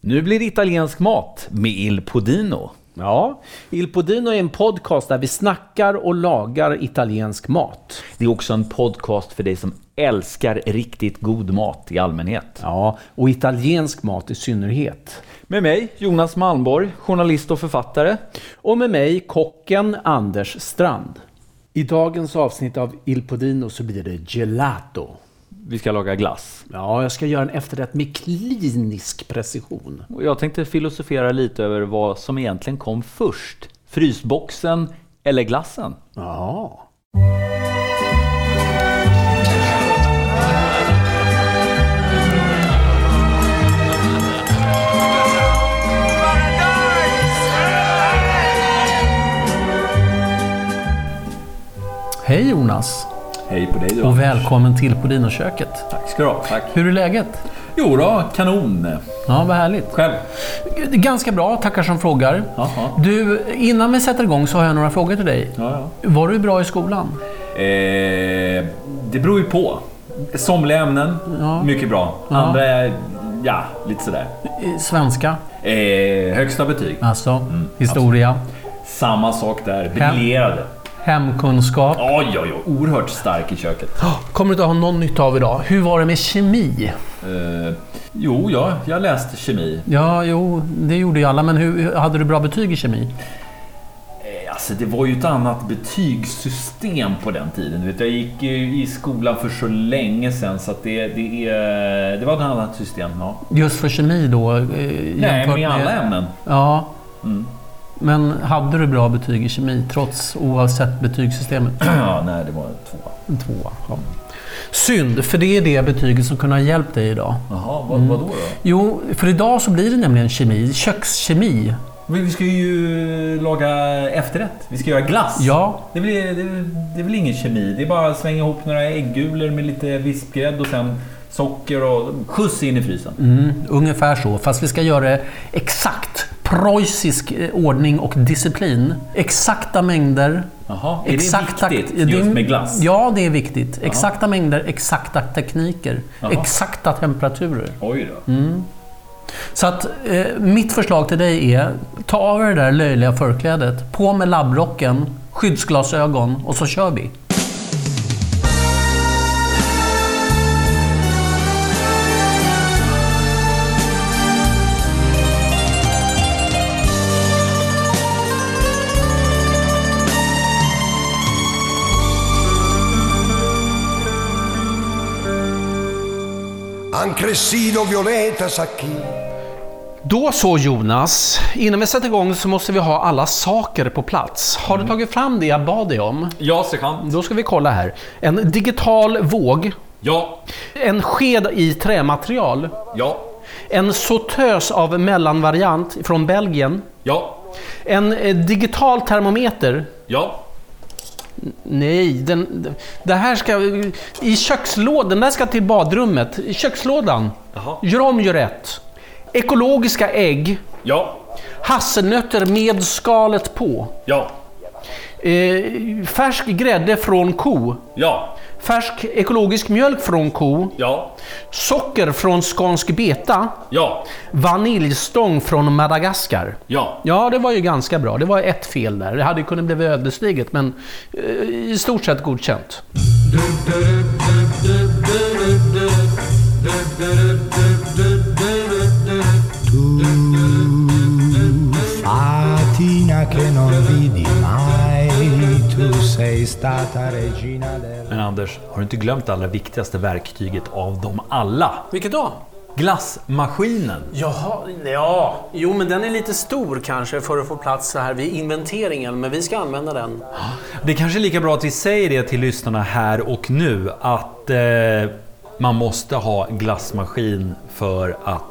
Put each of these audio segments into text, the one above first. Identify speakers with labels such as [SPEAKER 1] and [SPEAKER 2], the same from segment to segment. [SPEAKER 1] Nu blir det italiensk mat med Il Podino.
[SPEAKER 2] Ja, Il Podino är en podcast där vi snackar och lagar italiensk mat.
[SPEAKER 1] Det är också en podcast för dig som älskar riktigt god mat i allmänhet.
[SPEAKER 2] Ja, och italiensk mat i synnerhet.
[SPEAKER 1] Med mig, Jonas Malmborg, journalist och författare.
[SPEAKER 2] Och med mig, kocken Anders Strand. I dagens avsnitt av Il Podino så blir det gelato.
[SPEAKER 1] Vi ska laga glass.
[SPEAKER 2] Ja, jag ska göra en efterrätt med klinisk precision.
[SPEAKER 1] Och jag tänkte filosofera lite över vad som egentligen kom först. Frysboxen eller glassen?
[SPEAKER 2] Ja. Hej Jonas
[SPEAKER 3] Hej på dig
[SPEAKER 2] och
[SPEAKER 3] då.
[SPEAKER 2] välkommen till Podinoköket.
[SPEAKER 3] Tack ska du ha. Tack.
[SPEAKER 2] Hur är läget?
[SPEAKER 3] Jo då, kanon.
[SPEAKER 2] Ja, vad härligt.
[SPEAKER 3] Själv?
[SPEAKER 2] Ganska bra, tackar som frågar.
[SPEAKER 3] Jaha.
[SPEAKER 2] Du, innan vi sätter igång så har jag några frågor till dig.
[SPEAKER 3] Ja,
[SPEAKER 2] Var du bra i skolan?
[SPEAKER 3] ja. Eh, det beror ju på. Somliga ämnen,
[SPEAKER 2] Ja.
[SPEAKER 3] mycket bra. Andra, är, ja, lite sådär.
[SPEAKER 2] I Svenska?
[SPEAKER 3] Eh, högsta betyg,
[SPEAKER 2] Alltså, historia,
[SPEAKER 3] samma sak där. Briljerade.
[SPEAKER 2] hemkunskap.
[SPEAKER 3] Oj, oj, oj. Oerhört stark i köket.
[SPEAKER 2] Kommer du inte ha någon nytta av idag? Hur var det med kemi?
[SPEAKER 3] Eh, jo, ja, jag läste kemi.
[SPEAKER 2] Ja, jo, det gjorde ju alla, men hur, hade du bra betyg i kemi?
[SPEAKER 3] Eh, Alltså det var ju ett annat betygssystem på den tiden. Du vet, jag gick ju i skolan för så länge sedan så att det, det, är, det var ett annat system. Ja.
[SPEAKER 2] Just för kemi då? eh,
[SPEAKER 3] Nej,
[SPEAKER 2] jämfört
[SPEAKER 3] med alla Mm. ämnen.
[SPEAKER 2] Ja. Men hade du bra betyg i kemi, trots oavsett betygssystemet?
[SPEAKER 3] ja, nej, det var en tvåa.
[SPEAKER 2] En tvåa. Ja. Synd, för det är det betyget som kunde ha hjälpt dig idag.
[SPEAKER 3] Jaha,
[SPEAKER 2] Mm.
[SPEAKER 3] vad, vadå då?
[SPEAKER 2] Jo, för idag så blir det nämligen kemi, kökskemi.
[SPEAKER 3] Vi, vi ska ju laga efterrätt. Vi ska göra glass.
[SPEAKER 2] Ja,
[SPEAKER 3] Det, blir, det, det är väl ingen kemi. Det är bara att slänga ihop några äggulor med lite vispgrädde och sen socker och skjuts in i frysen.
[SPEAKER 2] mm, ungefär så. Fast vi ska göra det exakt preussisk eh, ordning och disciplin. Exakta mängder.
[SPEAKER 3] Jaha, är
[SPEAKER 2] exakta-
[SPEAKER 3] det viktigt
[SPEAKER 2] det är-
[SPEAKER 3] just med glass?
[SPEAKER 2] Ja, det är viktigt. Exakta mängder, exakta tekniker,
[SPEAKER 3] Jaha.
[SPEAKER 2] exakta temperaturer.
[SPEAKER 3] Oj då.
[SPEAKER 4] Mm.
[SPEAKER 2] Så att eh, mitt förslag till dig är, ta av er det där löjliga förklädet, på med labbrocken, skyddsglasögon och så kör vi.
[SPEAKER 5] Anch'essino Violeta Sacchi.
[SPEAKER 2] Då så Jonas, innan vi sätter igång så måste vi ha alla saker på plats. Har du tagit fram det jag bad dig om?
[SPEAKER 3] Ja, sekant.
[SPEAKER 2] Då ska vi kolla här. En digital våg,
[SPEAKER 3] Ja.
[SPEAKER 2] en sked i trämaterial,
[SPEAKER 3] Ja.
[SPEAKER 2] en sautös av mellanvariant från Belgien,
[SPEAKER 3] Ja.
[SPEAKER 2] en eh, digital termometer
[SPEAKER 3] Ja.
[SPEAKER 2] Nej, den, det här ska... I kökslådan, den där ska till badrummet. I kökslådan.
[SPEAKER 3] Jaha.
[SPEAKER 2] Gör om, gör rätt. Ekologiska ägg.
[SPEAKER 3] Ja.
[SPEAKER 2] Hasselnötter med skalet på.
[SPEAKER 3] Ja.
[SPEAKER 2] Eh, färsk grädde från ko.
[SPEAKER 3] Ja.
[SPEAKER 2] Färsk ekologisk mjölk från ko.
[SPEAKER 3] Ja.
[SPEAKER 2] Socker från skånsk beta.
[SPEAKER 3] Ja.
[SPEAKER 2] Vaniljstång från Madagaskar.
[SPEAKER 3] Ja.
[SPEAKER 2] Ja, det var ju ganska bra. Det var ett fel där. Det hade ju kunnat bli ödesdigert, men eh, i stort sett godkänt.
[SPEAKER 6] Fatina che non vidi mai, tu sei stata regina del...
[SPEAKER 4] Men Anders, har du inte glömt det allra viktigaste verktyget av dem alla?
[SPEAKER 2] Vilket då?
[SPEAKER 4] Glassmaskinen!
[SPEAKER 2] Jaha, ja. Jo, men den är lite stor kanske för att få plats så här vid inventeringen, men vi ska använda den.
[SPEAKER 4] Det är kanske är lika bra att vi säger det till lyssnarna här och nu att eh, man måste ha glassmaskin för att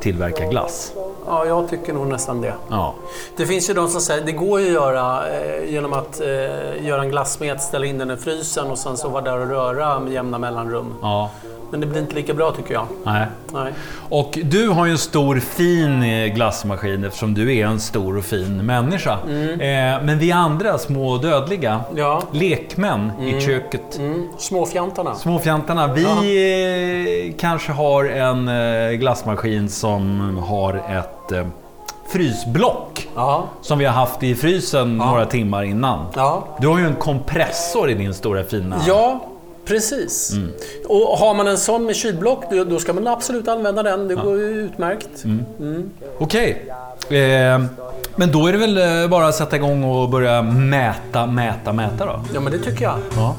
[SPEAKER 4] tillverka glass.
[SPEAKER 2] Ja, jag tycker nog nästan det.
[SPEAKER 4] Ja.
[SPEAKER 2] Det finns ju de som säger det går ju att göra eh, genom att eh, göra en glassmet, ställa in den i frysen och sen så vara där och röra med jämna mellanrum.
[SPEAKER 4] ja.
[SPEAKER 2] men det blir inte lika bra tycker jag.
[SPEAKER 3] Nej.
[SPEAKER 2] Nej.
[SPEAKER 3] Och du har ju en stor fin eh, glassmaskin eftersom du är en stor och fin människa. Eh, men vi andra små dödliga,
[SPEAKER 2] Mm. Ja.
[SPEAKER 3] lekmän i köket,
[SPEAKER 2] Mm. Småfjantarna.
[SPEAKER 3] småfjantarna, vi eh, kanske har en eh, glassmaskin som har ett eh, frysblock
[SPEAKER 2] Ja.
[SPEAKER 3] som vi har haft i frysen några timmar innan.
[SPEAKER 2] Ja.
[SPEAKER 3] Du har ju en kompressor i din stora fina...
[SPEAKER 2] Ja, precis. Och har man en sån med kylblock, då, då ska man absolut använda den. Det går ju utmärkt.
[SPEAKER 3] Okej. Eh, men då är det väl eh, bara att sätta igång och börja mäta, mäta, mäta då?
[SPEAKER 2] Ja, men det tycker jag.
[SPEAKER 3] Ja.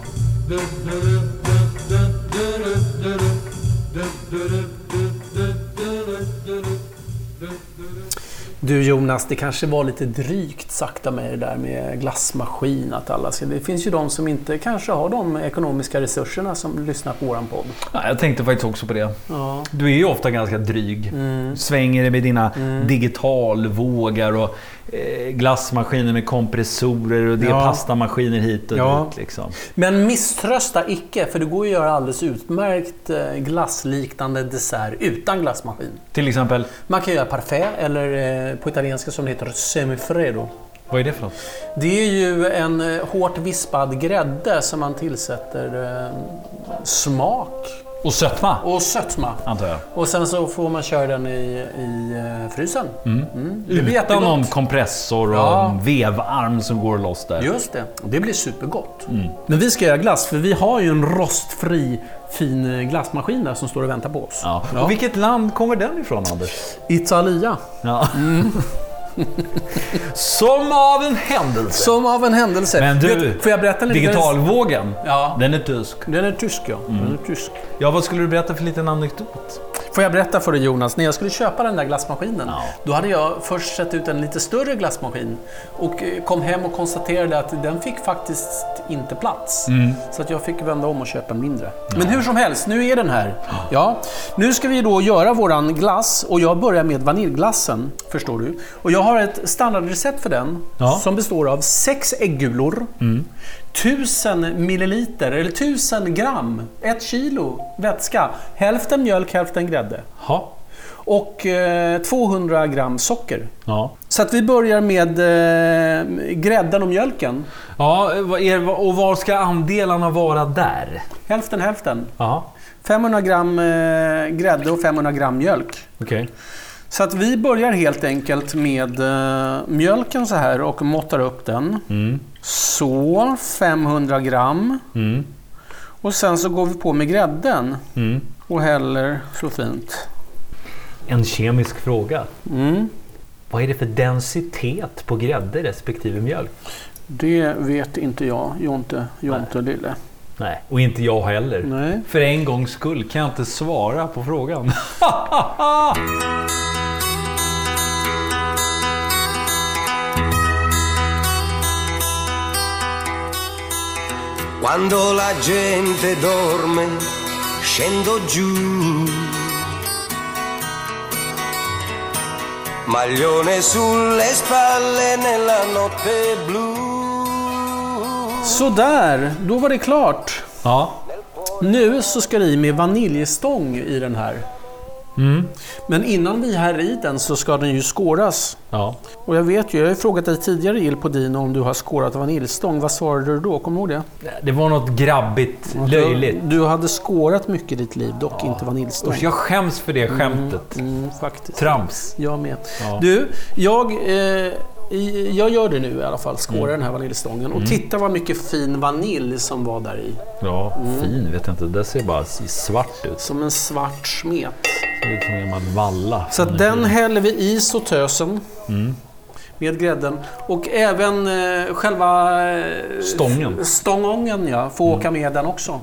[SPEAKER 2] Du Jonas, det kanske var lite drygt sagt av mig det där med glassmaskin. Att alla ska. Det finns ju de som inte kanske har de ekonomiska resurserna som lyssnar på våran podd.
[SPEAKER 3] Ja, jag tänkte faktiskt också på det.
[SPEAKER 2] Ja. Mm.
[SPEAKER 3] Du är ju ofta ganska dryg. Svänger dig med dina digitalvågar och eh, glassmaskiner med kompressorer och det är
[SPEAKER 2] Ja.
[SPEAKER 3] pastamaskiner hit och
[SPEAKER 2] Ja.
[SPEAKER 3] dit. Liksom.
[SPEAKER 2] Men misströsta icke, för det går ju att göra alldeles utmärkt eh, glassliknande dessert utan glassmaskin.
[SPEAKER 3] Till exempel,
[SPEAKER 2] Man kan göra parfait, eller eh, på italienska som det heter semifredo.
[SPEAKER 3] vad är det för något?
[SPEAKER 2] Det är ju en eh, hårt vispad grädde som man tillsätter eh, smak
[SPEAKER 3] Och sötma,
[SPEAKER 2] och sötma.
[SPEAKER 3] antar jag.
[SPEAKER 2] Och sen så får man köra den i, i eh, frysen. Mm, Det blir
[SPEAKER 3] Utan
[SPEAKER 2] jättegott.
[SPEAKER 3] någon kompressor och
[SPEAKER 2] Ja.
[SPEAKER 3] en vevarm som går loss där.
[SPEAKER 2] Just det, det blir supergott.
[SPEAKER 3] Mm.
[SPEAKER 2] Men vi ska göra glass för vi har ju en rostfri fin eh, glassmaskin där som står och väntar på oss.
[SPEAKER 3] Ja. Och vilket land kommer den ifrån, Anders?
[SPEAKER 2] Italia.
[SPEAKER 3] Ja. Mm. Som av en händelse.
[SPEAKER 2] Som av en händelse.
[SPEAKER 3] Men du,
[SPEAKER 2] Vet- får jag berätta lite?
[SPEAKER 3] digitalvågen,
[SPEAKER 2] Ja.
[SPEAKER 3] den är tysk.
[SPEAKER 2] Den är tysk ja.
[SPEAKER 3] Mm.
[SPEAKER 2] Den är tysk.
[SPEAKER 3] Ja, vad skulle du berätta för liten anekdot?
[SPEAKER 2] Får jag berätta för dig Jonas, när jag skulle köpa den där glassmaskinen,
[SPEAKER 3] Ja.
[SPEAKER 2] då hade jag först sett ut en lite större glassmaskin och eh, kom hem och konstaterade att den fick faktiskt inte plats. Så att jag fick vända om och köpa en mindre. Men hur som helst, nu är den här. Ja. Nu ska vi då göra våran glass och jag börjar med vaniljglassen, förstår du. Och jag har ett standardrecept för den
[SPEAKER 3] Ja.
[SPEAKER 2] som består av sex äggulor, 1000 milliliter, eller 1000 gram, ett kilo vätska, hälften mjölk, hälften grädde
[SPEAKER 3] Ja.
[SPEAKER 2] och eh, 200 gram socker.
[SPEAKER 3] Ja.
[SPEAKER 2] Så att vi börjar med eh, grädden och mjölken.
[SPEAKER 3] ja vad är, och var ska andelarna vara där?
[SPEAKER 2] Hälften hälften.
[SPEAKER 3] Ja.
[SPEAKER 2] 500 gram eh, grädde och 500 gram mjölk.
[SPEAKER 3] Okej.
[SPEAKER 2] Så att vi börjar helt enkelt med eh, mjölken så här och måttar upp den. Så, 500 gram. Och sen så går vi på med grädden. Och häller så fint.
[SPEAKER 3] En kemisk fråga.
[SPEAKER 2] Mm.
[SPEAKER 3] Vad är det för densitet på grädde respektive mjölk?
[SPEAKER 2] Det vet inte jag, Jonte, Jonte lille.
[SPEAKER 3] Nej, och inte jag heller.
[SPEAKER 2] Nej.
[SPEAKER 3] För en gångs skull kan jag inte svara på frågan.
[SPEAKER 6] Quando la gente dorme, scendo giù. Maglione sulle spalle nella notte blu.
[SPEAKER 2] Sådär, då var det klart.
[SPEAKER 3] Ja.
[SPEAKER 2] Nu så ska det i med vaniljstång i den här.
[SPEAKER 3] Mm.
[SPEAKER 2] Men innan vi här i den så ska den ju skåras.
[SPEAKER 3] ja.
[SPEAKER 2] Och jag vet ju, jag har ju frågat dig tidigare Il Podino om du har skårat vaniljstång. Vad svarade du då? Kommer du ihåg
[SPEAKER 3] Det var något grabbigt,
[SPEAKER 2] det?
[SPEAKER 3] löjligt.
[SPEAKER 2] Du, du hade skårat mycket i ditt liv, dock inte vaniljstång.
[SPEAKER 3] Usch, jag skäms för det skämtet.
[SPEAKER 2] Mm, faktiskt.
[SPEAKER 3] Trams.
[SPEAKER 2] Jag med.
[SPEAKER 3] Ja.
[SPEAKER 2] Du, jag, eh, i- jag gör det nu i alla fall. Skårar
[SPEAKER 3] Mm.
[SPEAKER 2] den här vaniljstången. Och titta vad mycket fin vanilj som var där i.
[SPEAKER 3] Ja,
[SPEAKER 2] Mm.
[SPEAKER 3] fin vet jag inte. Det ser bara svart ut.
[SPEAKER 2] Som en svart smet.
[SPEAKER 3] Lite som en gammal valla.
[SPEAKER 2] Så att den häller vi i sautösen.
[SPEAKER 3] Mm.
[SPEAKER 2] Med grädden. Och även eh, själva eh,
[SPEAKER 3] Stången. Mm.
[SPEAKER 2] f- stångången ja, får åka med den också.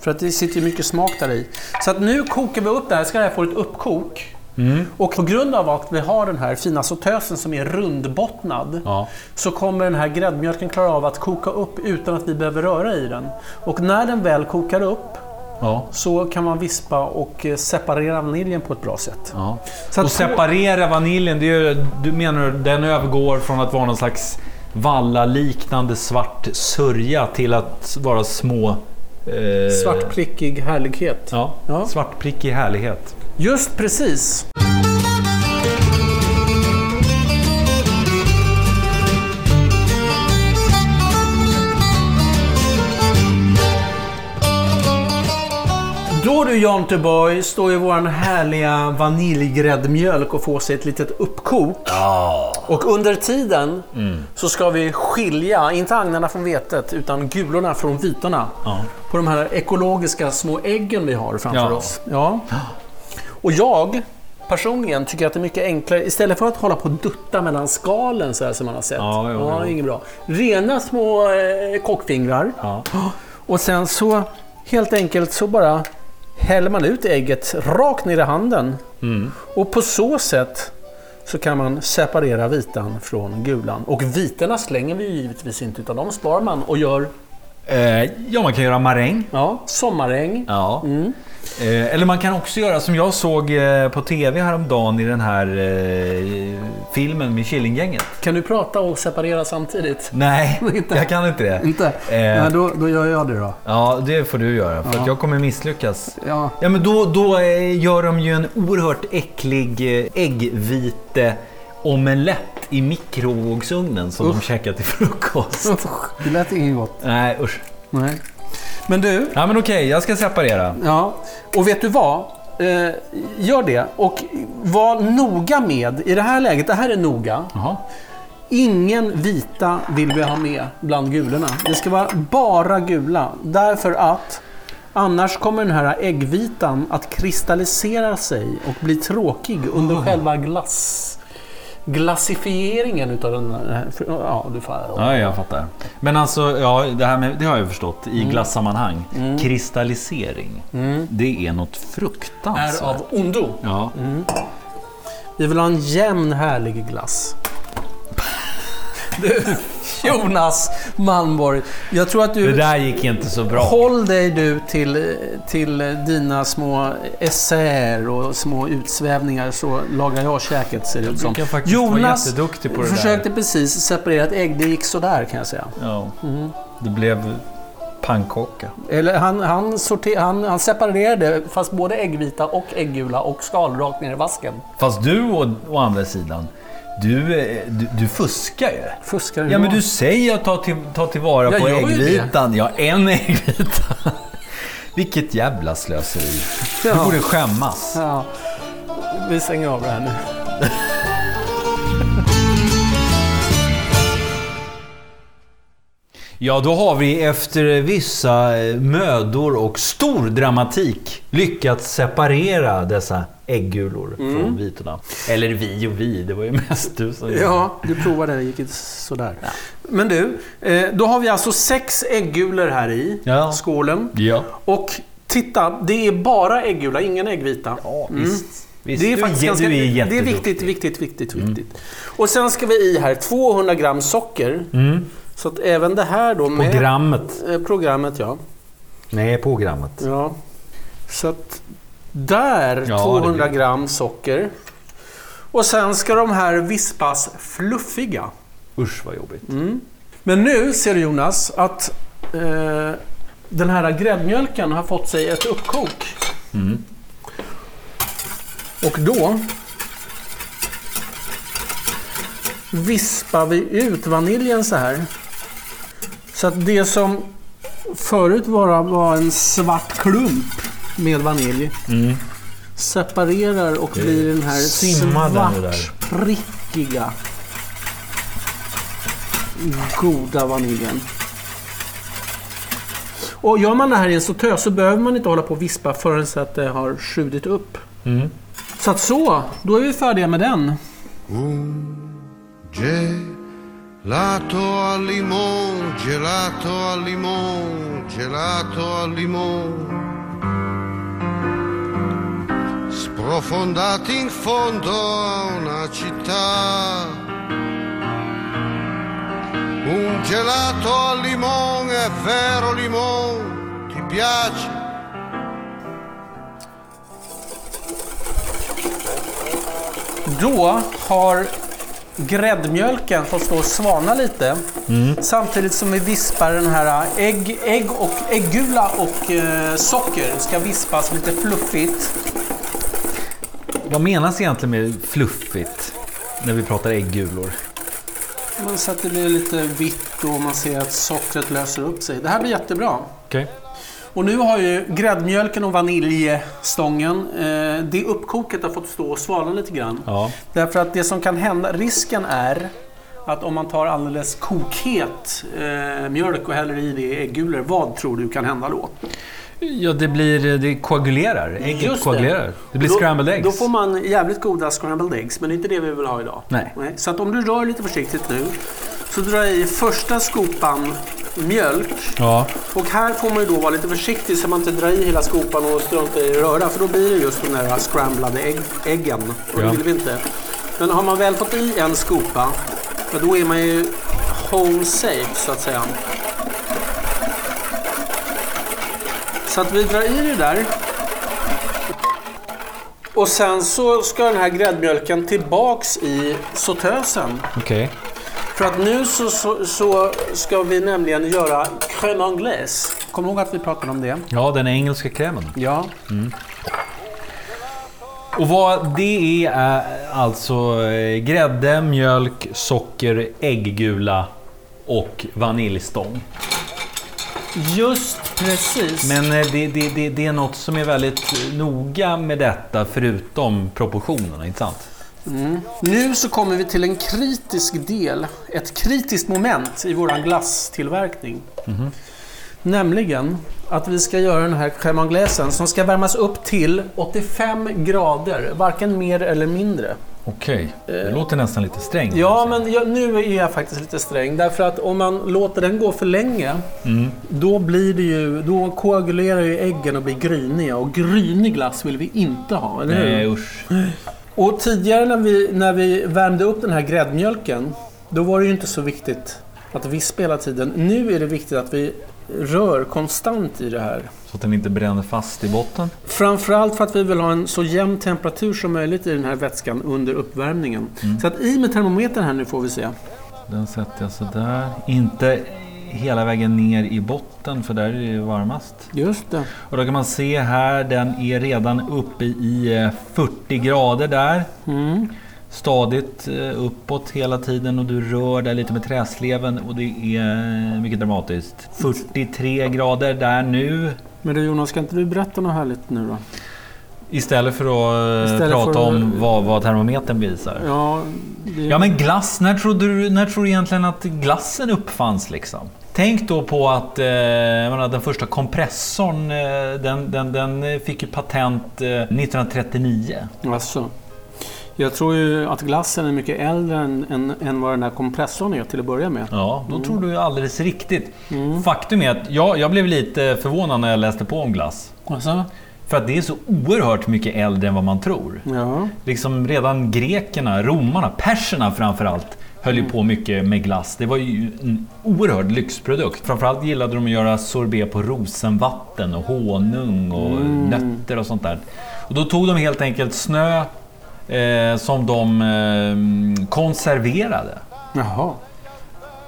[SPEAKER 2] För att det sitter ju mycket smak där i. Så att nu kokar vi upp det här. Ska det här få ett uppkok.
[SPEAKER 3] Mm.
[SPEAKER 2] Och på grund av att vi har den här fina sautösen som är rundbottnad
[SPEAKER 3] Ja.
[SPEAKER 2] så kommer den här gräddmjölken klara av att koka upp utan att vi behöver röra i den. Och när den väl kokar upp
[SPEAKER 3] Ja.
[SPEAKER 2] så kan man vispa och eh, separera vaniljen på ett bra sätt.
[SPEAKER 3] Ja.
[SPEAKER 2] Så att
[SPEAKER 3] och separera vaniljen, det är, ju- du menar att den övergår från att vara någon slags valla-liknande svart sörja till att vara små Eh,
[SPEAKER 2] Svartprickig härlighet.
[SPEAKER 3] Ja,
[SPEAKER 2] Ja.
[SPEAKER 3] svartprickig härlighet.
[SPEAKER 2] Just precis. Då du Jonte Boy står ju våran härliga vaniljgräddmjölk och får sig ett litet uppkok. Och under tiden så ska vi skilja, inte agnarna från vetet, utan gulorna från vitorna. På de här ekologiska små äggen vi har framför
[SPEAKER 3] Ja.
[SPEAKER 2] oss. Ja. Och jag personligen tycker att det är mycket enklare, istället för att hålla på och dutta mellan skalen så här som man har sett.
[SPEAKER 3] Ja, jo, jo.
[SPEAKER 2] Inget bra. Rena små eh, kockfingrar.
[SPEAKER 3] Ja.
[SPEAKER 2] Och sen så helt enkelt så bara häller man ut ägget rakt ner i handen.
[SPEAKER 3] Mm.
[SPEAKER 2] Och på så sätt så kan man separera vitan från gulan. Och vitorna slänger vi ju givetvis inte utan de sparar man och gör
[SPEAKER 3] Eh, ja, man kan göra maräng.
[SPEAKER 2] ja, sommaräng.
[SPEAKER 3] Ja. Eh, eller man kan också göra som jag såg eh, på TV häromdagen i den här eh, filmen med Killinggänget.
[SPEAKER 2] Kan du prata och separera samtidigt?
[SPEAKER 3] Nej,
[SPEAKER 2] Inte.
[SPEAKER 3] jag kan inte det. Eh,
[SPEAKER 2] då, då gör jag det då.
[SPEAKER 3] Ja, det får du göra för att jag kommer misslyckas.
[SPEAKER 2] Ja.
[SPEAKER 3] Ja, men då, då eh, gör de ju en oerhört äcklig eh, äggvite omelett i mikrovågsugnen som de käkar till frukost.
[SPEAKER 2] Det lät inget gott.
[SPEAKER 3] Nej, usch.
[SPEAKER 2] Nej. Men du,
[SPEAKER 3] Ja, men okej, jag ska separera.
[SPEAKER 2] Ja, och vet du vad? Eh, gör det. Och var noga med, i det här läget, det här är noga.
[SPEAKER 3] Jaha.
[SPEAKER 2] Ingen vita vill vi ha med bland gulorna. Det ska vara bara gula. Därför att annars kommer den här äggvitan att kristallisera sig och bli tråkig under själva glass... Glassifieringen utav den här... Ja, du fattar.
[SPEAKER 3] Ja, jag fattar. Men alltså, ja, det här med, det har jag förstått
[SPEAKER 2] Mm.
[SPEAKER 3] i glassammanhang. Kristallisering. Det är något fruktansvärt.
[SPEAKER 2] Är av Mm. ondo.
[SPEAKER 3] Ja.
[SPEAKER 2] Vi vill ha en jämn härlig glass. Du, Jonas Malmborg. Jag tror att
[SPEAKER 3] Det
[SPEAKER 2] du...
[SPEAKER 3] där gick inte så bra.
[SPEAKER 2] Håll dig du till, till dina små essäer och små utsvävningar så lagar jag käket ser det ut som.
[SPEAKER 3] brukar faktiskt vara
[SPEAKER 2] Jonas
[SPEAKER 3] jätteduktig på det där.
[SPEAKER 2] försökte precis separera ett ägg. Det gick sådär kan jag säga.
[SPEAKER 3] Ja.
[SPEAKER 2] Mm.
[SPEAKER 3] Det blev pannkaka.
[SPEAKER 2] Eller han, han, sorter, han, han separerade fast både äggvita och ägggula och skal rakt ner i vasken.
[SPEAKER 3] Fast du å, å andra sidan, du, eh, du, du fuskar ju.
[SPEAKER 2] Fuskar
[SPEAKER 3] Ja men
[SPEAKER 2] Jonas.
[SPEAKER 3] du säger att ta, till, ta tillvara
[SPEAKER 2] Jag
[SPEAKER 3] på
[SPEAKER 2] gör ju
[SPEAKER 3] äggvitan. Ja, en äggvita. Vilket jävla slöseri. Du
[SPEAKER 2] Ja.
[SPEAKER 3] borde skämmas.
[SPEAKER 2] Ja. Vi stänger av det här nu.
[SPEAKER 3] Ja, då har vi efter vissa eh, mödor och stor dramatik lyckats separera dessa äggulor
[SPEAKER 2] Mm.
[SPEAKER 3] från vitorna. Eller vi och vi, det var ju mest du som gjorde det.
[SPEAKER 2] Ja, du provade det. gick inte sådär. Men du, eh, då har vi alltså sex äggulor här i
[SPEAKER 3] Ja.
[SPEAKER 2] skålen.
[SPEAKER 3] Ja.
[SPEAKER 2] Och titta, det är bara äggula, ingen äggvita.
[SPEAKER 3] Ja, visst. visst.
[SPEAKER 2] Mm. Det är
[SPEAKER 3] du,
[SPEAKER 2] faktiskt
[SPEAKER 3] du
[SPEAKER 2] ganska,
[SPEAKER 3] är
[SPEAKER 2] Det är
[SPEAKER 3] jätteduktig. Mm.
[SPEAKER 2] viktigt, viktigt, viktigt, viktigt. Och sen ska vi i här 200 gram socker.
[SPEAKER 3] Mm.
[SPEAKER 2] Så att även det här då med
[SPEAKER 3] Programmet.
[SPEAKER 2] eh, programmet, ja.
[SPEAKER 3] Nej, på grammet.
[SPEAKER 2] ja. Så att där
[SPEAKER 3] Ja, det
[SPEAKER 2] 200
[SPEAKER 3] blir-
[SPEAKER 2] gram socker. Och sen ska de här vispas fluffiga.
[SPEAKER 3] Usch vad jobbigt.
[SPEAKER 2] Mm. Men nu ser du Jonas att eh, den här gräddmjölken har fått sig ett uppkok. Och då vispar vi ut vaniljen så här. Så att det som förut bara var en svart klump med vanilj separerar och blir den här
[SPEAKER 3] simmade nu där.
[SPEAKER 2] svartprickiga goda vaniljen. Och gör man det här i en sautös så behöver man inte hålla på och vispa förrän så att det har sjudit upp. Så att så, då är vi färdiga med den.
[SPEAKER 5] Gelato al limone, gelato al limone, gelato al limone. Sprofondati in fondo a una città. Un gelato al limone, è vero limone, ti piace?
[SPEAKER 2] Då har gräddmjölken får stå och svana lite. Samtidigt som vi vispar den här äh, ägg, ägg och äggula och eh, socker ska vispas lite fluffigt.
[SPEAKER 4] Vad menas egentligen med fluffigt när vi pratar äggulor?
[SPEAKER 2] Men Så att det blir lite vitt och man ser att sockret löser upp sig. Det här blir jättebra.
[SPEAKER 4] Okej.
[SPEAKER 2] Och nu har ju gräddmjölken och vaniljstången, eh, det uppkoket har fått stå och svalna lite grann.
[SPEAKER 4] Ja.
[SPEAKER 2] Därför att det som kan hända, risken är att om man tar alldeles kokhet eh, mjölk och häller i det i äggulor, vad tror du kan hända då?
[SPEAKER 4] ja, det
[SPEAKER 3] eh,
[SPEAKER 4] blir... Det koagulerar. Ägget
[SPEAKER 2] Just det.
[SPEAKER 4] koagulerar. Det blir
[SPEAKER 2] Då-
[SPEAKER 4] scrambled eggs.
[SPEAKER 2] Då får man jävligt goda scrambled eggs, men det är inte det vi vill ha idag.
[SPEAKER 4] Nej.
[SPEAKER 2] Så att om du rör lite försiktigt nu, så drar jag i första skopan mjölk
[SPEAKER 4] Ja.
[SPEAKER 2] Och här får man ju då vara lite försiktig så man inte drar i hela skopan och struntar i att röra för då blir det just de där scramblade ägg, äggen. Och det
[SPEAKER 4] Ja.
[SPEAKER 2] vill vi inte. Men har man väl fått i en skopa, ja, då är man ju home safe så att säga. Så att vi drar i det där. Och sen så ska den här gräddmjölken tillbaks i sautösen.
[SPEAKER 4] Okej.
[SPEAKER 2] För att nu så, så, så ska vi nämligen göra crème anglaise. Kom ihåg att vi pratade om det.
[SPEAKER 4] Ja, den engelska krämen.
[SPEAKER 2] Ja.
[SPEAKER 4] Och vad det är är alltså eh, grädde, mjölk, socker, ägggula och vaniljstång.
[SPEAKER 2] Just precis.
[SPEAKER 4] Men eh, det, det, det, det är något som är väldigt noga med detta förutom proportionerna, inte sant?
[SPEAKER 2] Nu så kommer vi till en kritisk del, ett kritiskt moment i vår glasstillverkning. Nämligen att vi ska göra den här crème anglaisen som ska värmas upp till 85 grader, varken mer eller mindre.
[SPEAKER 3] Okej, det låter nästan lite strängt.
[SPEAKER 2] Ja, men jag, nu är jag faktiskt lite sträng. Därför att om man låter den gå för länge, då, blir det ju, då koagulerar ju äggen och blir gryniga. Och grynig glass vill vi inte ha, eller hur?
[SPEAKER 3] Nej Eh, usch.
[SPEAKER 2] Och tidigare när vi, när vi värmde upp den här gräddmjölken, då var det ju inte så viktigt att vispa hela tiden. Nu är det viktigt att vi rör konstant i det här.
[SPEAKER 3] Så att den inte bränner fast i botten.
[SPEAKER 2] Framförallt för att vi vill ha en så jämn temperatur som möjligt i den här vätskan under uppvärmningen. Så att i med termometern här nu får vi se.
[SPEAKER 3] Den sätter jag sådär. Inte hela vägen ner i botten för där är det ju varmast.
[SPEAKER 2] Just det.
[SPEAKER 3] Och då kan man se här, den är redan uppe i eh, 40 grader där. Mm. Stadigt eh, uppåt hela tiden och du rör där lite med träsleven och det är eh, mycket dramatiskt. 43 grader där nu.
[SPEAKER 2] Men du Jonas, ska inte du berätta något härligt nu då?
[SPEAKER 3] Istället för att eh,
[SPEAKER 2] Istället
[SPEAKER 3] prata
[SPEAKER 2] för att-
[SPEAKER 3] om vad, vad termometern visar.
[SPEAKER 2] Ja, det...
[SPEAKER 3] Ja men glass, när tror du, när tror du egentligen att glassen uppfanns liksom? Tänk då på att eh, jag menar, den första kompressorn eh, den, den, den eh, fick ju patent eh, 1939.
[SPEAKER 2] Alltså, jag tror ju att glassen är mycket äldre än, än, än vad den här kompressorn är till att börja med.
[SPEAKER 3] Ja, då tror du ju alldeles riktigt. Faktum är att jag, jag blev lite förvånad när jag läste på om glass.
[SPEAKER 2] Alltså?
[SPEAKER 3] För att det är så oerhört mycket äldre än vad man tror.
[SPEAKER 2] Ja.
[SPEAKER 3] Liksom redan grekerna, romarna, perserna framförallt höll ju på mycket med glass. Det var ju en oerhörd lyxprodukt. Framförallt gillade de att göra sorbet på rosenvatten och honung och nötter och sånt där. Och då tog de helt enkelt snö eh, som de eh, konserverade.
[SPEAKER 2] Jaha.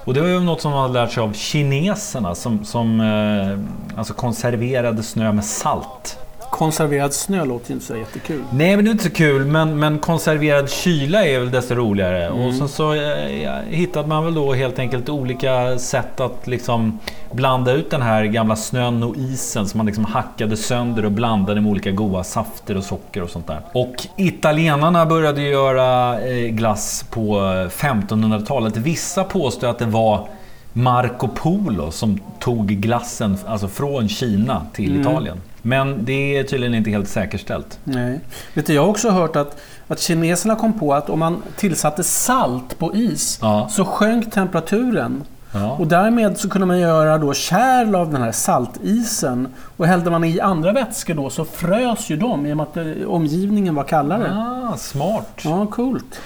[SPEAKER 3] Och det var ju något som man hade lärt sig av kineserna som, som eh, alltså konserverade snö med salt.
[SPEAKER 2] Konserverad snö låter ju inte så jättekul.
[SPEAKER 3] Nej, men det är inte så kul. Men, men konserverad kyla är väl desto roligare. Och sen så eh, ja, hittade man väl då helt enkelt olika sätt att liksom blanda ut den här gamla snön och isen som man liksom hackade sönder och blandade med olika goda safter och socker och sånt där. Och italienarna började göra eh, glass på eh, 1500-talet. Vissa påstår att det var Marco Polo som tog glassen alltså från Kina till Italien. Men det är tydligen inte helt säkerställt.
[SPEAKER 2] Nej. Vet du, jag har också hört att, att kineserna kom på att om man tillsatte salt på is
[SPEAKER 3] Ja.
[SPEAKER 2] så sjönk temperaturen.
[SPEAKER 3] Ja.
[SPEAKER 2] Och därmed så kunde man göra då kärl av den här saltisen. Och hällde man i andra vätskor då så frös ju de i och med att eh, omgivningen var kallare.
[SPEAKER 3] Ah, smart.
[SPEAKER 2] Ja, coolt.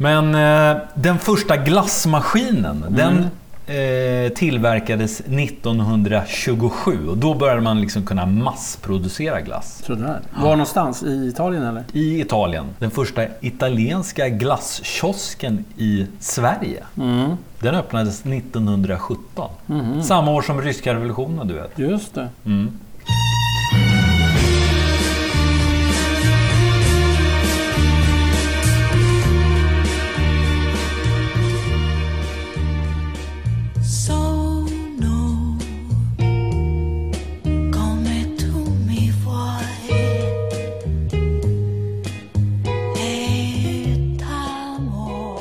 [SPEAKER 7] Mm.
[SPEAKER 3] Men eh, den första glassmaskinen, den eh, tillverkades 1927 och då började man liksom kunna massproducera glass.
[SPEAKER 7] Sådär. Var någonstans? I Italien eller?
[SPEAKER 3] I Italien, den första italienska glasskiosken i Sverige,
[SPEAKER 7] Mm.
[SPEAKER 3] den öppnades 1917.
[SPEAKER 7] Mm-hmm.
[SPEAKER 3] Samma år som ryska revolutionen, du vet.
[SPEAKER 7] Just det.
[SPEAKER 8] Sono come tu mi vuoi e t'amo.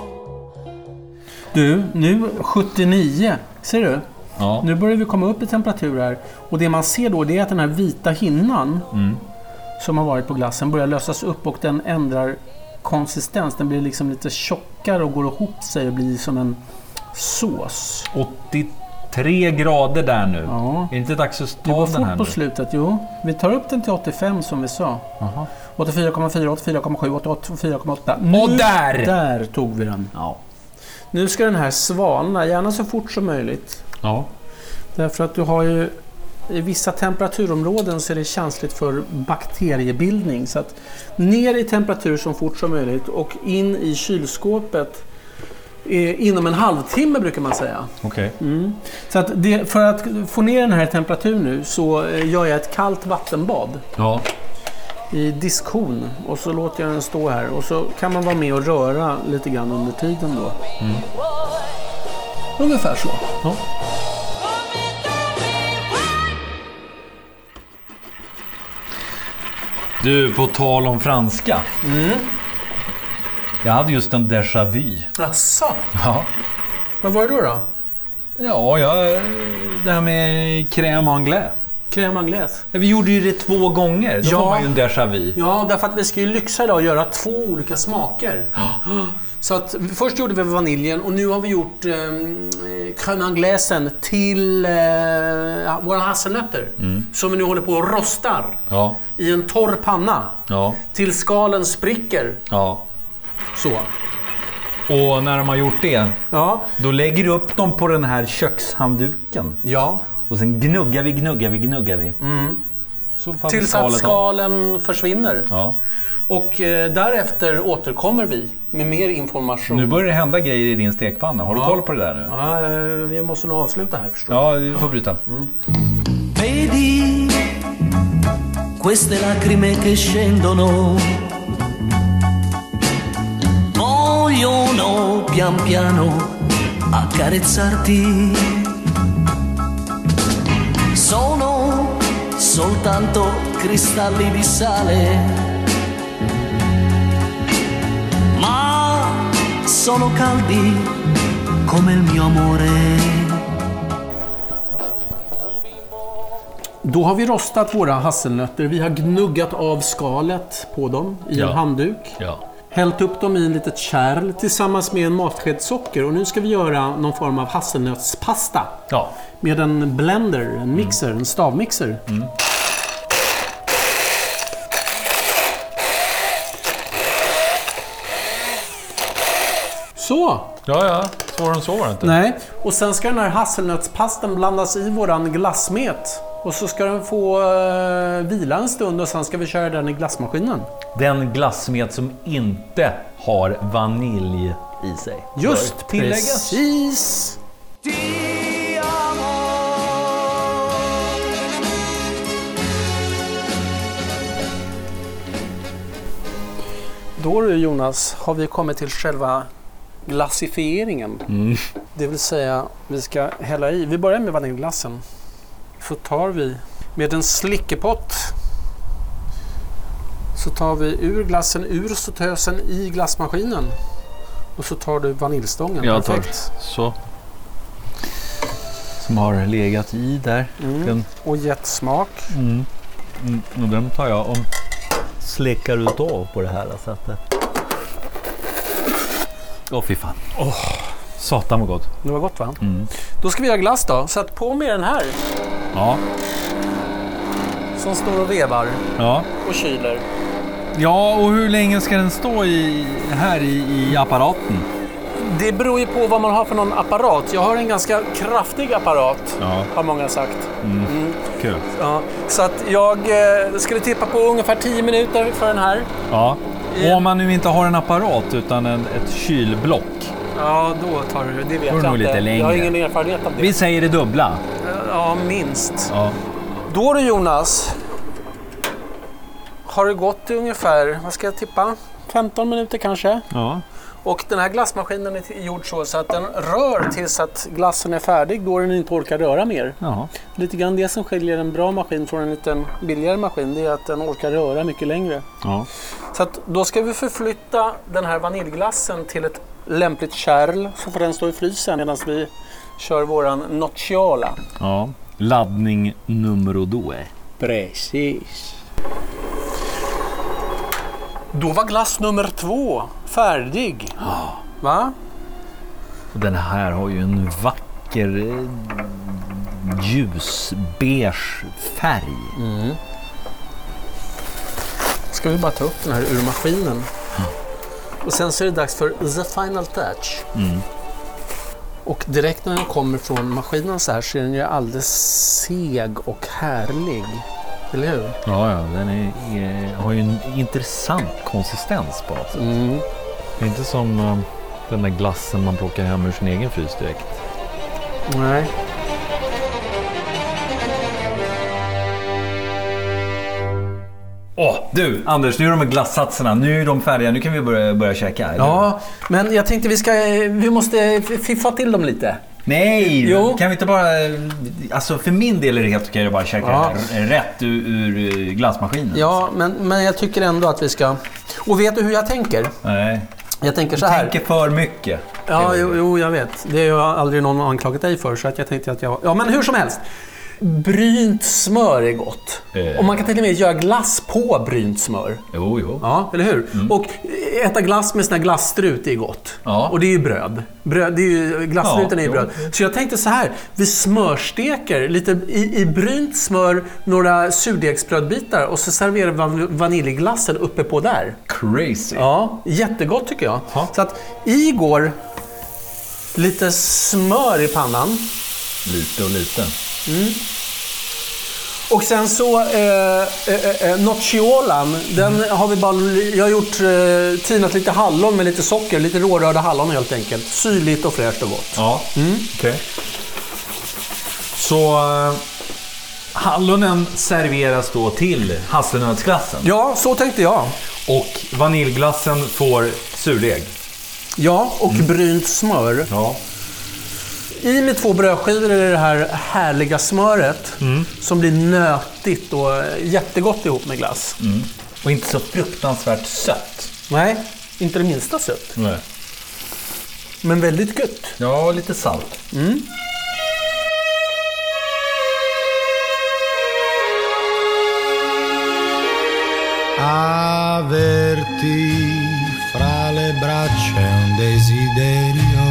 [SPEAKER 7] Du, nu 79. Ser du?
[SPEAKER 3] Ja.
[SPEAKER 7] Nu börjar vi komma upp i temperatur här. Och det man ser då det är att den här vita hinnan
[SPEAKER 3] Mm.
[SPEAKER 7] som har varit på glassen börjar lösas upp och den ändrar konsistens. Den blir liksom lite tjockare och går ihop sig och blir som en sås.
[SPEAKER 3] 83 grader där nu.
[SPEAKER 7] Ja.
[SPEAKER 3] Är det inte dags att
[SPEAKER 7] Det
[SPEAKER 3] ta
[SPEAKER 7] var
[SPEAKER 3] den här
[SPEAKER 7] fort på
[SPEAKER 3] nu?
[SPEAKER 7] slutet, jo. Vi tar upp den till 85 som vi sa. 84,4, 84,7, 88, 4,8. Nu-
[SPEAKER 3] Och där!
[SPEAKER 7] Där tog vi den.
[SPEAKER 3] Ja.
[SPEAKER 7] Nu ska den här svalna, gärna så fort som möjligt.
[SPEAKER 3] Ja.
[SPEAKER 7] Därför att du har ju i vissa temperaturområden så är det känsligt för bakteriebildning. Så att ner i temperatur så fort som möjligt och in i kylskåpet eh, inom en halvtimme brukar man säga.
[SPEAKER 3] Okej.
[SPEAKER 7] Mm. Så att det, för att få ner den här temperaturen nu så eh, gör jag ett kallt vattenbad
[SPEAKER 3] Ja.
[SPEAKER 7] i diskhon och så låter jag den stå här och så kan man vara med och röra lite grann under tiden då. Ungefär så.
[SPEAKER 3] Du, på tal om franska. Jag hade just en déjà vu.
[SPEAKER 7] Jaså?
[SPEAKER 3] Ja.
[SPEAKER 7] Vad var det då? då?
[SPEAKER 3] Ja, jag, det här med crème anglais.
[SPEAKER 7] Crème anglaise?
[SPEAKER 3] Vi gjorde ju det två gånger. Då
[SPEAKER 7] Ja.
[SPEAKER 3] får man ju en déjà vu.
[SPEAKER 7] Ja, därför att vi ska ju lyxa idag och göra två olika smaker. Så att först gjorde vi vaniljen och nu har vi gjort eh, crème anglaisen till eh, våra hasselnötter. Som vi nu håller på och rostar
[SPEAKER 3] Ja.
[SPEAKER 7] i en torr panna.
[SPEAKER 3] Ja.
[SPEAKER 7] Till skalen spricker.
[SPEAKER 3] Ja.
[SPEAKER 7] Så.
[SPEAKER 3] Och när de har gjort det,
[SPEAKER 7] Ja.
[SPEAKER 3] då lägger du upp dem på den här kökshandduken.
[SPEAKER 7] ja.
[SPEAKER 3] Och sen gnuggar vi, gnuggar vi, gnuggar vi. Så faller
[SPEAKER 7] Tills att
[SPEAKER 3] skalet av.
[SPEAKER 7] skalen försvinner.
[SPEAKER 3] Ja.
[SPEAKER 7] Och eh, därefter återkommer vi med mer information.
[SPEAKER 3] Nu börjar det hända grejer i din stekpanna. Har du koll på det där nu?
[SPEAKER 7] ja, eh, vi måste nog avsluta här förstår
[SPEAKER 3] Ja, vi får bryta.
[SPEAKER 9] Vedi queste lacrime che scendono, vogliono pian piano accarezzarti. Sono soltanto cristalli di sale, ma sono caldi come il mio amore.
[SPEAKER 7] Då har vi rostat våra hasselnötter. Vi har gnuggat av skalet på dem i
[SPEAKER 3] Ja.
[SPEAKER 7] en handduk.
[SPEAKER 3] Ja.
[SPEAKER 7] Hällt upp dem i en litet kärl tillsammans med en matsked socker. Och nu ska vi göra någon form av hasselnötspasta.
[SPEAKER 3] Ja.
[SPEAKER 7] Med en blender, en mixer, en stavmixer. Så!
[SPEAKER 3] Ja, ja. Svårare än så var det inte.
[SPEAKER 7] Nej, och sen ska den här hasselnötspasten blandas i våran glassmet. Och så ska den få eh, vila en stund och sen ska vi köra den i glassmaskinen.
[SPEAKER 3] Den glassmet som inte har vanilj i sig.
[SPEAKER 7] Just
[SPEAKER 3] Bör tilläggas.
[SPEAKER 7] precis!
[SPEAKER 9] Ti amo.
[SPEAKER 7] Då du Jonas, har vi kommit till själva glassifieringen. Det vill säga, vi ska hälla i. Vi börjar med vaniljglassen. Så tar vi med en slickepott så tar vi ur glassen ur sötösen i glassmaskinen. Och så tar du vaniljstången.
[SPEAKER 3] Jag tar.
[SPEAKER 7] Perfekt.
[SPEAKER 3] Så. Som har legat i där. Den,
[SPEAKER 7] och gett smak.
[SPEAKER 3] mm, och den tar jag och släcker utav på det här sättet. Åh fy fan. Satan vad gott.
[SPEAKER 7] Det var gott va?
[SPEAKER 3] Mm.
[SPEAKER 7] Då ska vi göra glass då. Sätt på med den här
[SPEAKER 3] Ja.
[SPEAKER 7] som står och vevar
[SPEAKER 3] ja.
[SPEAKER 7] och kyler.
[SPEAKER 3] Ja, och hur länge ska den stå i, här i, i apparaten?
[SPEAKER 2] Det beror ju på vad man har för någon apparat. Jag har en ganska kraftig apparat,
[SPEAKER 3] Ja.
[SPEAKER 2] har många sagt.
[SPEAKER 3] Kul.
[SPEAKER 2] Ja, så att jag eh, skulle tippa på ungefär 10 minuter för den här.
[SPEAKER 3] Ja. Och om man nu inte har en apparat utan en, ett kylblock.
[SPEAKER 2] Ja, då tar du det. vet
[SPEAKER 3] Då är det
[SPEAKER 2] jag
[SPEAKER 3] nog
[SPEAKER 2] inte.
[SPEAKER 3] lite längre.
[SPEAKER 2] Jag har ingen erfarenhet av det.
[SPEAKER 3] Vi säger det dubbla.
[SPEAKER 2] Ja, minst.
[SPEAKER 3] Ja.
[SPEAKER 2] Då du Jonas. Har det gått ungefär, vad ska jag tippa? 15 minuter kanske.
[SPEAKER 3] ja.
[SPEAKER 2] Och den här glassmaskinen är gjord så, så att den rör tills att glassen är färdig då den inte orkar röra mer.
[SPEAKER 3] Jaha.
[SPEAKER 2] Lite grann det som skiljer en bra maskin från en liten billigare maskin, det är att den orkar röra mycket längre.
[SPEAKER 3] Ja.
[SPEAKER 2] Så att då ska vi förflytta den här vaniljglassen till ett lämpligt kärl, så får den stå i frysen medan vi kör våran nocciola.
[SPEAKER 3] ja. Laddning numero due.
[SPEAKER 2] Precis. Då var glass nummer två färdig. Va?
[SPEAKER 3] Den här har ju en vacker eh, ljusbeige färg.
[SPEAKER 2] Ska vi bara ta upp den här ur maskinen. Och sen så är det dags för the final touch. Och direkt när den kommer från maskinen så här så är den ju alldeles seg och härlig. Eller hur?
[SPEAKER 3] Ja, ja, den är, är, har ju en intressant konsistens på något sätt. Det är inte som eh, den där glassen man plockar hem ur sin egen frys direkt.
[SPEAKER 2] Nej.
[SPEAKER 3] Åh, du Anders, nu är de glassatserna. Nu är de färdiga. Nu kan vi börja, börja käka.
[SPEAKER 2] Ja, men jag tänkte vi ska, vi måste fiffa till dem lite.
[SPEAKER 3] Nej!
[SPEAKER 2] Jo.
[SPEAKER 3] Kan vi inte bara... Alltså för min del är det helt okej att bara käka
[SPEAKER 2] Ja.
[SPEAKER 3] det här rätt ur, ur eh, glassmaskinen.
[SPEAKER 2] Ja, men, men jag tycker ändå att vi ska... Och vet du hur jag tänker?
[SPEAKER 3] Nej.
[SPEAKER 2] Jag tänker så
[SPEAKER 3] Du
[SPEAKER 2] här.
[SPEAKER 3] tänker för mycket.
[SPEAKER 2] Ja, jo, jo, jag vet. Det har ju aldrig någon anklagat dig för, så att jag tänkte att jag... Ja, men hur som helst. Brynt smör är gott.
[SPEAKER 3] Eh.
[SPEAKER 2] Och man kan till och med göra glass på brynt smör.
[SPEAKER 3] Jo, jo.
[SPEAKER 2] Ja, eller hur? Och äta glass med sån här glasstrut är gott.
[SPEAKER 3] Mm. Ja.
[SPEAKER 2] Och det är ju bröd. bröd det är ju, glasstruten
[SPEAKER 3] Ja,
[SPEAKER 2] är ju
[SPEAKER 3] jo.
[SPEAKER 2] bröd. Så jag tänkte så här. Vi smörsteker lite i, i brynt smör några surdegsbrödbitar och så serverar vi van- vaniljglassen uppe på där.
[SPEAKER 3] Crazy.
[SPEAKER 2] Ja, jättegott tycker jag.
[SPEAKER 3] Ja.
[SPEAKER 2] Så att i går lite smör i pannan.
[SPEAKER 3] Lite och lite.
[SPEAKER 2] Och sen så eh, eh, eh, nocciolan, den har vi bara... Jag har gjort, eh, tinat lite hallon med lite socker, lite rårörda hallon helt enkelt. Syrligt och fräscht och gott.
[SPEAKER 3] Ja, Mm. okej. Så eh, hallonen serveras då till hasselnötsglassen
[SPEAKER 2] Ja, så tänkte jag.
[SPEAKER 3] och vaniljglassen får surdeg.
[SPEAKER 2] Ja, och brynt smör.
[SPEAKER 3] Ja.
[SPEAKER 2] I med två brödskivor är det här härliga smöret som blir nötigt och eh, jättegott ihop med glass.
[SPEAKER 3] Och inte så fruktansvärt sött.
[SPEAKER 2] Nej, inte det minsta sött,
[SPEAKER 3] Nej.
[SPEAKER 2] men väldigt gött.
[SPEAKER 3] Ja, och lite salt.
[SPEAKER 6] Averti fra le braccia un desiderio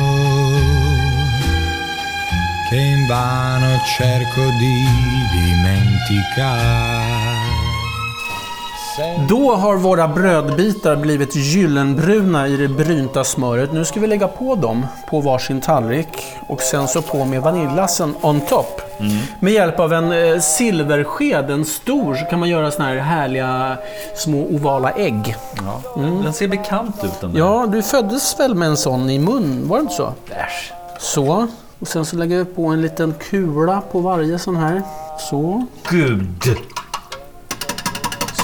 [SPEAKER 6] che invano cerco di dimenticare.
[SPEAKER 2] Då har våra brödbitar blivit gyllenbruna i det brynta smöret. Nu ska vi lägga på dem på varsin tallrik och sen så på med vaniljglassen on top. Med hjälp av en eh, silversked, en stor, så kan man göra såna här härliga små ovala ägg.
[SPEAKER 3] Den ser bekant ut den där.
[SPEAKER 2] Mm. Ja, du föddes väl med en sån i mun, var det inte så?
[SPEAKER 3] Äsch.
[SPEAKER 2] Så. Och sen så lägger vi på en liten kula på varje sån här. Så.
[SPEAKER 3] Gud!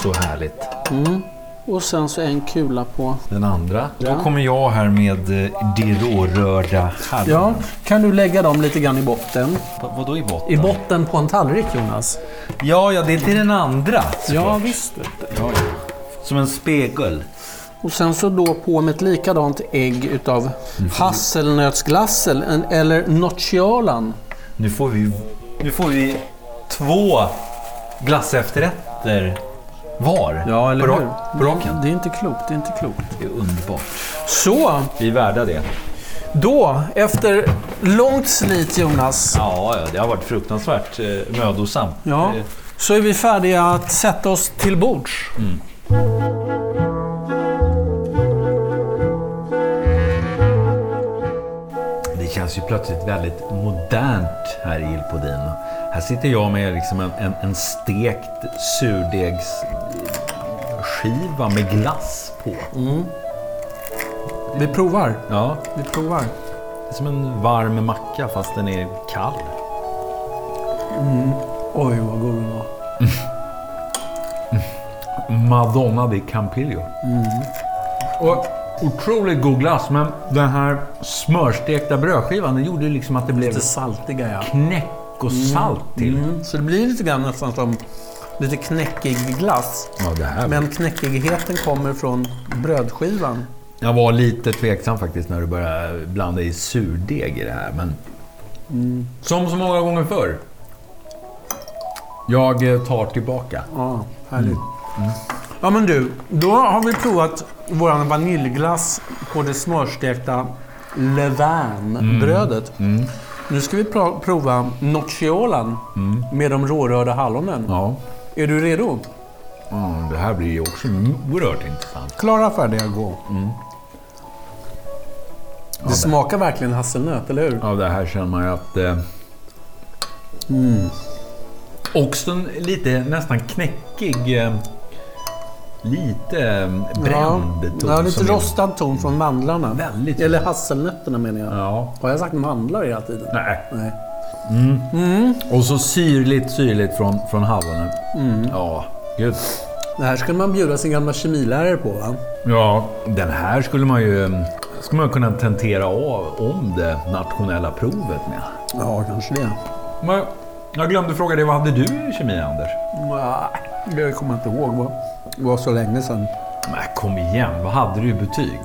[SPEAKER 3] Så härligt.
[SPEAKER 2] Och sen så en kula på
[SPEAKER 3] Den andra. Då kommer jag här med eh, de rårörda
[SPEAKER 2] Ja,
[SPEAKER 3] hallonen.
[SPEAKER 2] kan du lägga dem lite grann i botten?
[SPEAKER 3] Ja. Vadå i botten?
[SPEAKER 2] I botten på en tallrik Jonas?
[SPEAKER 3] Ja, ja, det är till den andra.
[SPEAKER 2] Ja, visst.
[SPEAKER 3] Som en spegel.
[SPEAKER 2] Och sen så då på med ett likadant ägg utav
[SPEAKER 3] Mhm.
[SPEAKER 2] hasselnötsglassel en- eller nocciolan.
[SPEAKER 3] Nu får vi, nu får vi två glassefterrätter var.
[SPEAKER 2] Ja, eller
[SPEAKER 3] på ra-
[SPEAKER 2] hur?
[SPEAKER 3] På raken.
[SPEAKER 2] Det är inte klokt, det är inte klokt.
[SPEAKER 3] Det är underbart.
[SPEAKER 2] Så,
[SPEAKER 3] Vi är värda det.
[SPEAKER 2] då efter långt slit Jonas,
[SPEAKER 3] Ja, ja, det har varit fruktansvärt eh, mödosamt.
[SPEAKER 2] ja,
[SPEAKER 3] Eh,
[SPEAKER 2] så är vi färdiga att sätta oss till bords.
[SPEAKER 3] känns ju plötsligt väldigt modernt här i Il Podino. Här sitter jag med liksom en, en, en stekt surdegsskiva med glass på.
[SPEAKER 7] Mm. Vi provar.
[SPEAKER 3] Ja,
[SPEAKER 7] Vi provar.
[SPEAKER 3] det är som en varm macka fast den är kall.
[SPEAKER 7] Mm. Oj, vad god den var.
[SPEAKER 3] Madonna di Campiglio. Och otroligt god glass, men den här smörstekta brödskivan den gjorde ju liksom att det blev
[SPEAKER 7] Lite saltiga, ja.
[SPEAKER 3] knäck och salt till.
[SPEAKER 7] Mm, Så det blir lite grann nästan som lite knäckig glass.
[SPEAKER 3] Ja, det här.
[SPEAKER 7] Men knäckigheten kommer från brödskivan.
[SPEAKER 3] Jag var lite tveksam faktiskt när du började blanda i surdeg i det här, men...
[SPEAKER 7] Mm.
[SPEAKER 3] Som så många gånger förr. Jag eh, tar tillbaka.
[SPEAKER 7] Ja, härligt. Ja, men du. Då har vi provat vår vaniljglass på det smörstekta levain-brödet. Nu ska vi pro- prova nocciolan med de rårörda hallonen.
[SPEAKER 3] Ja.
[SPEAKER 7] Är du redo?
[SPEAKER 3] Mm, det här blir ju också oerhört intressant.
[SPEAKER 7] Klara, färdiga, gå. Det smakar verkligen hasselnöt, eller hur?
[SPEAKER 3] Ja, det här känner man ju att... Eh...
[SPEAKER 7] Mm.
[SPEAKER 3] Också en lite nästan knäckig... Eh... Lite eh, bränd ton.
[SPEAKER 7] ja, lite
[SPEAKER 3] som är-
[SPEAKER 7] rostad ton från mandlarna.
[SPEAKER 3] Väldigt.
[SPEAKER 7] Eller hasselnötterna menar jag.
[SPEAKER 3] Ja.
[SPEAKER 7] Har jag sagt mandlar hela tiden?
[SPEAKER 3] Nej. Mm.
[SPEAKER 7] Nej. Mm.
[SPEAKER 3] Och så syrligt, syrligt från, från hallonen.
[SPEAKER 7] Mm.
[SPEAKER 3] Ja, gud.
[SPEAKER 7] Det här skulle man bjuda sin gamla kemilärare på va?
[SPEAKER 3] Ja, den här skulle man ju... eh, Skulle man kunna tentera av om det nationella provet med.
[SPEAKER 7] Ja, kanske det.
[SPEAKER 3] Men jag glömde fråga dig, vad hade du i kemi, Anders?
[SPEAKER 7] Nej, jag kommer inte ihåg. va? Det var så länge sedan.
[SPEAKER 3] Nej, kom igen. Vad hade du i betyg?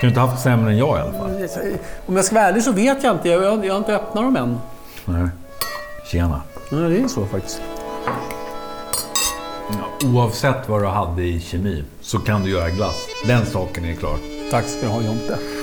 [SPEAKER 3] Kunde inte haft sämre än jag i alla fall.
[SPEAKER 7] Om jag ska vara ärlig så vet jag inte. Jag, jag, jag har inte öppnat dem än.
[SPEAKER 3] Nej. Tjena.
[SPEAKER 7] Nej, det är så faktiskt.
[SPEAKER 3] Oavsett vad du hade i kemi så kan du göra glass. Den saken är klar.
[SPEAKER 7] Tack ska du ha Jonte.